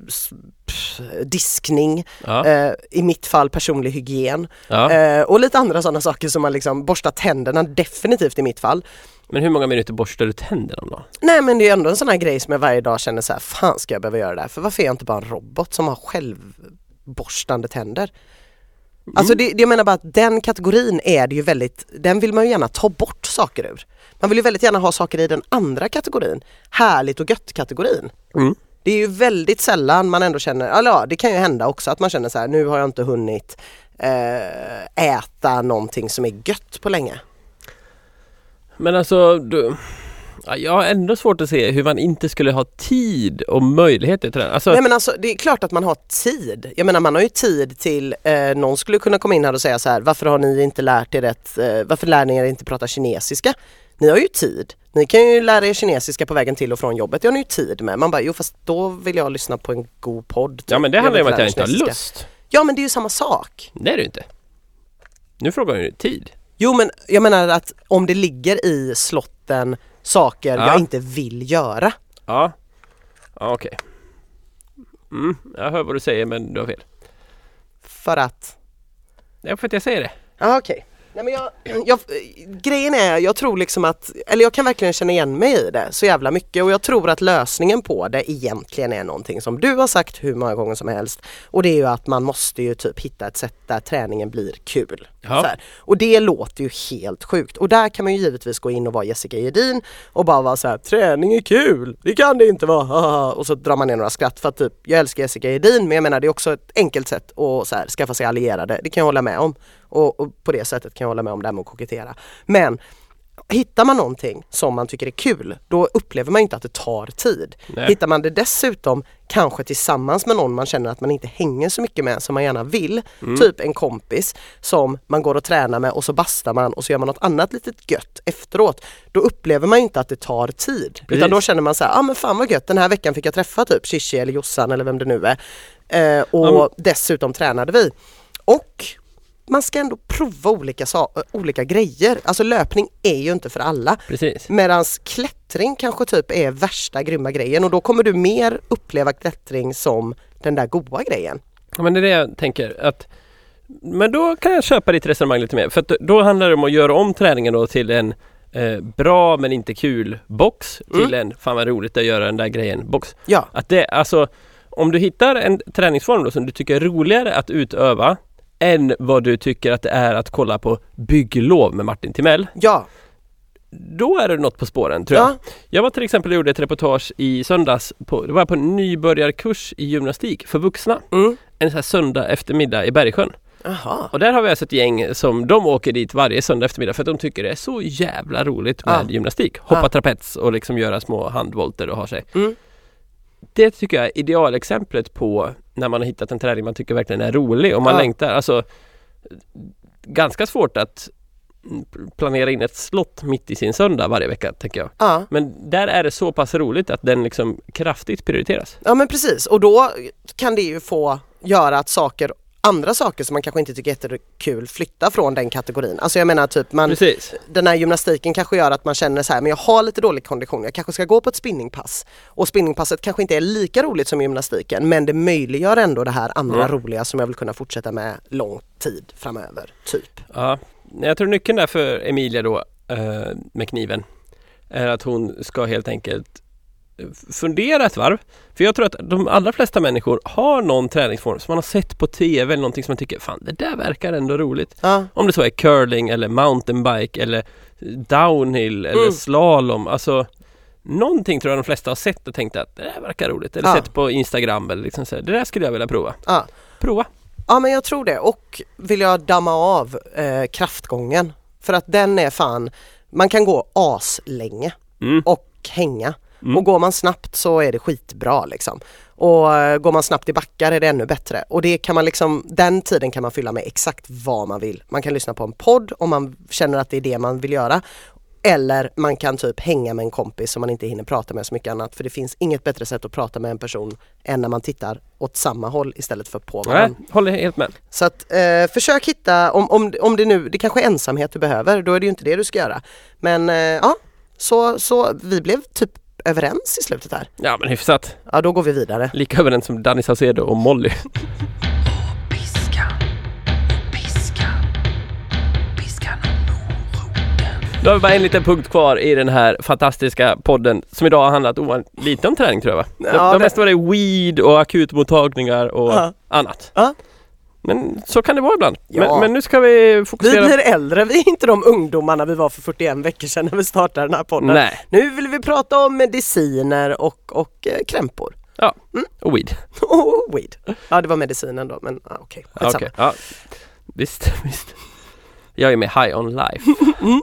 s- pff, diskning,
ja,
eh, i mitt fall personlig hygien
ja.
eh, och lite andra sådana saker som man liksom borstar tänderna definitivt i mitt fall.
Men hur många minuter borstar du tänderna om dagen?
Nej men det är ändå en sån här grej som jag varje dag känner så här, fan ska jag behöva göra det här? För varför är jag inte bara en robot som har självborstande tänder? Alltså det, det jag menar bara att den kategorin är det ju väldigt, den vill man ju gärna ta bort saker ur. Man vill ju väldigt gärna ha saker i den andra kategorin, härligt och gött-kategorin.
Mm.
Det är ju väldigt sällan man ändå känner, eller ja det kan ju hända också att man känner så här, nu har jag inte hunnit eh, äta någonting som är gött på länge.
Men alltså, du... Ja, jag har ändå svårt att se hur man inte skulle ha tid och möjlighet till träning. Alltså,
Nej men alltså det är klart att man har tid. Jag menar man har ju tid till, eh, någon skulle kunna komma in här och säga så här, varför har ni inte lärt er rätt, eh, varför lär ni er inte prata kinesiska? Ni har ju tid. Ni kan ju lära er kinesiska på vägen till och från jobbet, det har ni ju tid med. Man bara, jo fast då vill jag lyssna på en god podd. typ.
ja men det
Jag
handlar ju om
vill
att jag
lära
inte har
kinesiska.
lust.
Ja men det är ju samma sak.
Det är det ju inte. Nu frågar jag ju tid.
Jo men jag menar att om det ligger i slotten saker
Ja.
jag inte vill göra.
Ja, ja okej. Mm, jag hör vad du säger men du har fel.
För att
Ja, för att jag säger det.
Ja okej. Nej, men jag, jag, grejen är, jag tror liksom att, eller jag kan verkligen känna igen mig i det så jävla mycket och jag tror att lösningen på det egentligen är någonting som du har sagt hur många gånger som helst och det är ju att man måste ju typ hitta ett sätt där träningen blir kul.
Ja.
Så här. Och det låter ju helt sjukt och där kan man ju givetvis gå in och vara Jessica Jedin och bara vara så här: träning är kul, det kan det inte vara, haha." och så drar man ner några skratt för att typ, jag älskar Jessica Jedin men jag menar det är också ett enkelt sätt att så här, skaffa sig allierade, det kan jag hålla med om. Och, och på det sättet kan jag hålla med om det här med att kokettera. Men hittar man någonting som man tycker är kul, då upplever man inte att det tar tid.
Nej.
Hittar man det dessutom kanske tillsammans med någon man känner att man inte hänger så mycket med som man gärna vill, typ en kompis som man går och tränar med och så bastar man och så gör man något annat litet gött efteråt, då upplever man ju inte att det tar tid. Utan då känner man så här, ja ah, men fan vad gött, den här veckan fick jag träffa typ Shishi eller Jossan eller vem det nu är. Eh, och
Ja,
dessutom tränade vi. Och man ska ändå prova olika, sa- olika grejer. Alltså löpning är ju inte för alla.
Precis.
Medans klätt klättring kanske typ är värsta grymma grejen och då kommer du mer uppleva klättring som den där goa grejen.
Ja, men det är det jag tänker att Men då kan jag köpa ditt resonemang lite mer för att då handlar det om att göra om träningen då till en eh, bra men inte kul box till en fan vad roligt att göra den där grejen box.
Ja,
Att det alltså om du hittar en träningsform då som du tycker är roligare att utöva än vad du tycker att det är att kolla på bygglov med Martin Timell.
ja,
Då är det något på spåren tror jag.
ja,
Jag var till exempel och gjorde ett reportage i söndags på, det var på en nybörjarkurs i gymnastik för vuxna.
mm.
En sån här söndag eftermiddag i Bergsjön.
Aha.
Och där har vi alltså ett gäng som de åker dit varje söndag eftermiddag för att de tycker det är så jävla roligt med
Ah.
gymnastik. Hoppa
Ah.
trapets och liksom göra små handvolter och ha sig.
Mm.
Det tycker jag är idealexemplet på när man har hittat en träning man tycker verkligen är rolig och man
Ah.
längtar. Alltså, ganska svårt att mm, planera in ett slott mitt i sin söndag varje vecka tänker jag.
Ja.
Men där är det så pass roligt att den liksom kraftigt prioriteras.
ja, men precis och då kan det ju få göra att saker andra saker som man kanske inte tycker är jättekul flyttar från den kategorin. Alltså jag menar typ man,
Precis.
den här gymnastiken kanske gör att man känner så här, men jag har lite dålig kondition, jag kanske ska gå på ett spinningpass. Och spinningpasset kanske inte är lika roligt som gymnastiken men det möjliggör ändå det här andra roliga som jag vill kunna fortsätta med lång tid framöver, typ.
Ja. Nej, Jag tror nyckeln där för Emilia då eh, med kniven är att hon ska helt enkelt eh, fundera ett varv. För jag tror att de allra flesta människor har någon träningsform som man har sett på TV eller någonting som man tycker fan det där verkar ändå roligt.
Ja,
Om det så är curling eller mountainbike eller eh, downhill eller
Mm.
slalom. Alltså Någonting tror jag de flesta har sett och tänkt att det där verkar roligt eller
Ja.
sett på Instagram eller liksom så här, det där skulle jag vilja prova.
ja.
Prova!
ja men jag tror det och vill jag damma av eh, kraftgången för att den är fan, man kan gå aslänge.
Mm.
och hänga.
Mm.
Och går man snabbt så är det skitbra liksom. Och eh, går man snabbt i backar är det ännu bättre. Och det kan man liksom, den tiden kan man fylla med exakt vad man vill. Man kan lyssna på en podd om man känner att det är det man vill göra. Eller man kan typ hänga med en kompis som man inte hinner prata med så mycket annat. För det finns inget bättre sätt att prata med en person än när man tittar åt samma håll istället för på
Nej,
varandra.
håller helt med.
Så att eh, försök hitta, om, om, om det nu, det kanske är ensamhet du behöver, då är det ju inte det du ska göra. Men eh, ja, så, så vi blev typ överens i slutet här.
Ja men hyfsat.
Ja, då går vi vidare.
Lika överens som Danny Saucedo och Molly.
Piskan, piskan, piskan och moroten.
Då har vi bara en liten punkt kvar i den här fantastiska podden som idag har handlat ovanligt lite om träning tror jag va? De,
Ja,
de
det-
mesta var det weed och akutmottagningar och
Ja.
annat.
Ja.
Men så kan det vara ibland.
Ja.
Men, men nu ska vi
Vi
fokusera...
blir äldre, vi är inte de ungdomarna vi var för 41 veckor sedan när vi startade den här podden.
Nej,
Nu vill vi prata om mediciner och, och eh, krämpor.
och weed.
Och weed. Ja, det var medicinen då, men ja, okej.
Ja,
Skitsamma.
Ah, okej. Ja. Visst, visst. Jag är med high on life. Mm.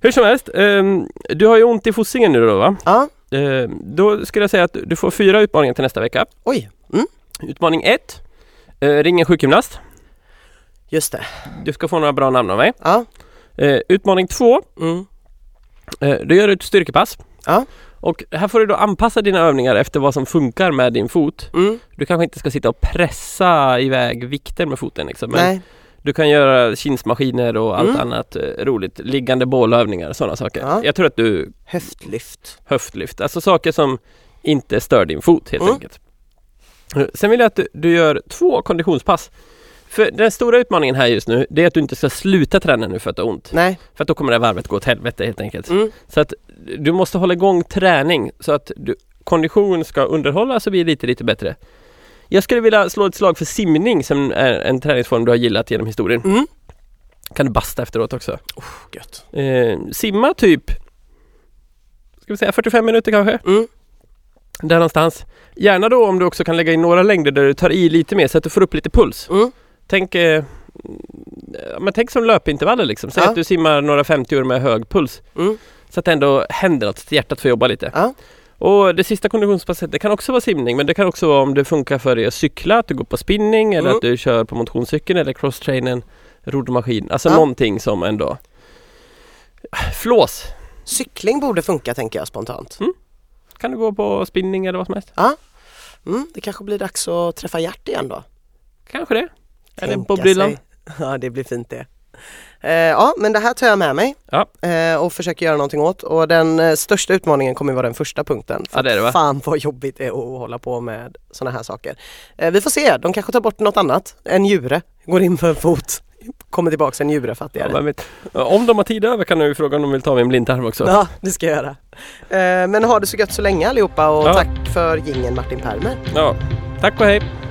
Hur som helst, ehm, du har ju ont i fossingen nu då va?
Ja,
Ehm, då skulle jag säga att du får fyra utmaningar till nästa vecka.
oj. Mm,
Utmaning 1. Eh, ring en sjukgymnast.
just det.
Du ska få några bra namn av mig.
Ja.
Eh, utmaning 2.
Mm.
Eh, du gör ett styrkepass.
Ja.
Och här får du då anpassa dina övningar efter vad som funkar med din fot.
Mm.
Du kanske inte ska sitta och pressa iväg vikter med foten liksom. Men
Nej.
Du kan göra kinsmaskiner och allt
Mm.
annat eh, roligt. Liggande bålövningar och sådana saker.
Ja.
Jag tror att du
Höftlyft.
höftlyft. Alltså saker som inte stör din fot helt
Mm.
enkelt. Eh, Sen vill jag att du, du gör två konditionspass. För den stora utmaningen här just nu, det är att du inte ska sluta träna nu för att du har ont.
Nej.
För att då kommer det här varvet gå åt helvete helt enkelt.
Mm.
Så att du måste hålla igång träning så att du, kondition ska underhållas och bli lite, lite bättre. Jag skulle vilja slå ett slag för simning som är en träningsform du har gillat genom historien.
Mm.
Kan du basta efteråt också.
Gött.
Eh, simma typ, ska vi säga 45 minuter kanske?
Mm.
Där någonstans. Gärna då om du också kan lägga in några längder där du tar i lite mer så att du får upp lite puls.
Mm.
Tänk, eh, mm, ja, men tänk som löpintervaller liksom. Säg
Ja.
att du simmar några 50 med hög puls.
Mm.
Så att det ändå händer något, så hjärtat får jobba lite.
Ja.
Och det sista konditionspasset, det kan också vara simning men det kan också vara om det funkar för dig att cykla, att du går på spinning eller
Mm.
att du kör på motionscykeln eller crosstrainen, roddmaskin. Alltså
Ja.
någonting som ändå Flås!
Cykling borde funka tänker jag spontant.
Kan du gå på spinning eller vad som helst?
Mm, det kanske blir dags att träffa Gert igen då.
Kanske det? Eller
Tänka
Bob Dylan?
sig. Ja det blir fint det. Eh, ja, men det här tar jag med mig
Ja.
eh, och försöker göra någonting åt. Och den eh, största utmaningen kommer ju vara den första punkten. För
Ja, det är det, va?
Fan vad jobbigt det är att hålla på med sådana här saker. Eh, vi får se, de kanske tar bort något annat. En djure, går in för en fot, kommer tillbaks en djure
Ja,
fattigare.
vem vet. Om de har tid över kan du fråga om de vill ta min blindtarm också.
Ja, det ska jag göra. Eh, men ha det så gött så länge allihopa och
Ja.
tack för gingen Martin Permer.
Ja. Tack och hej!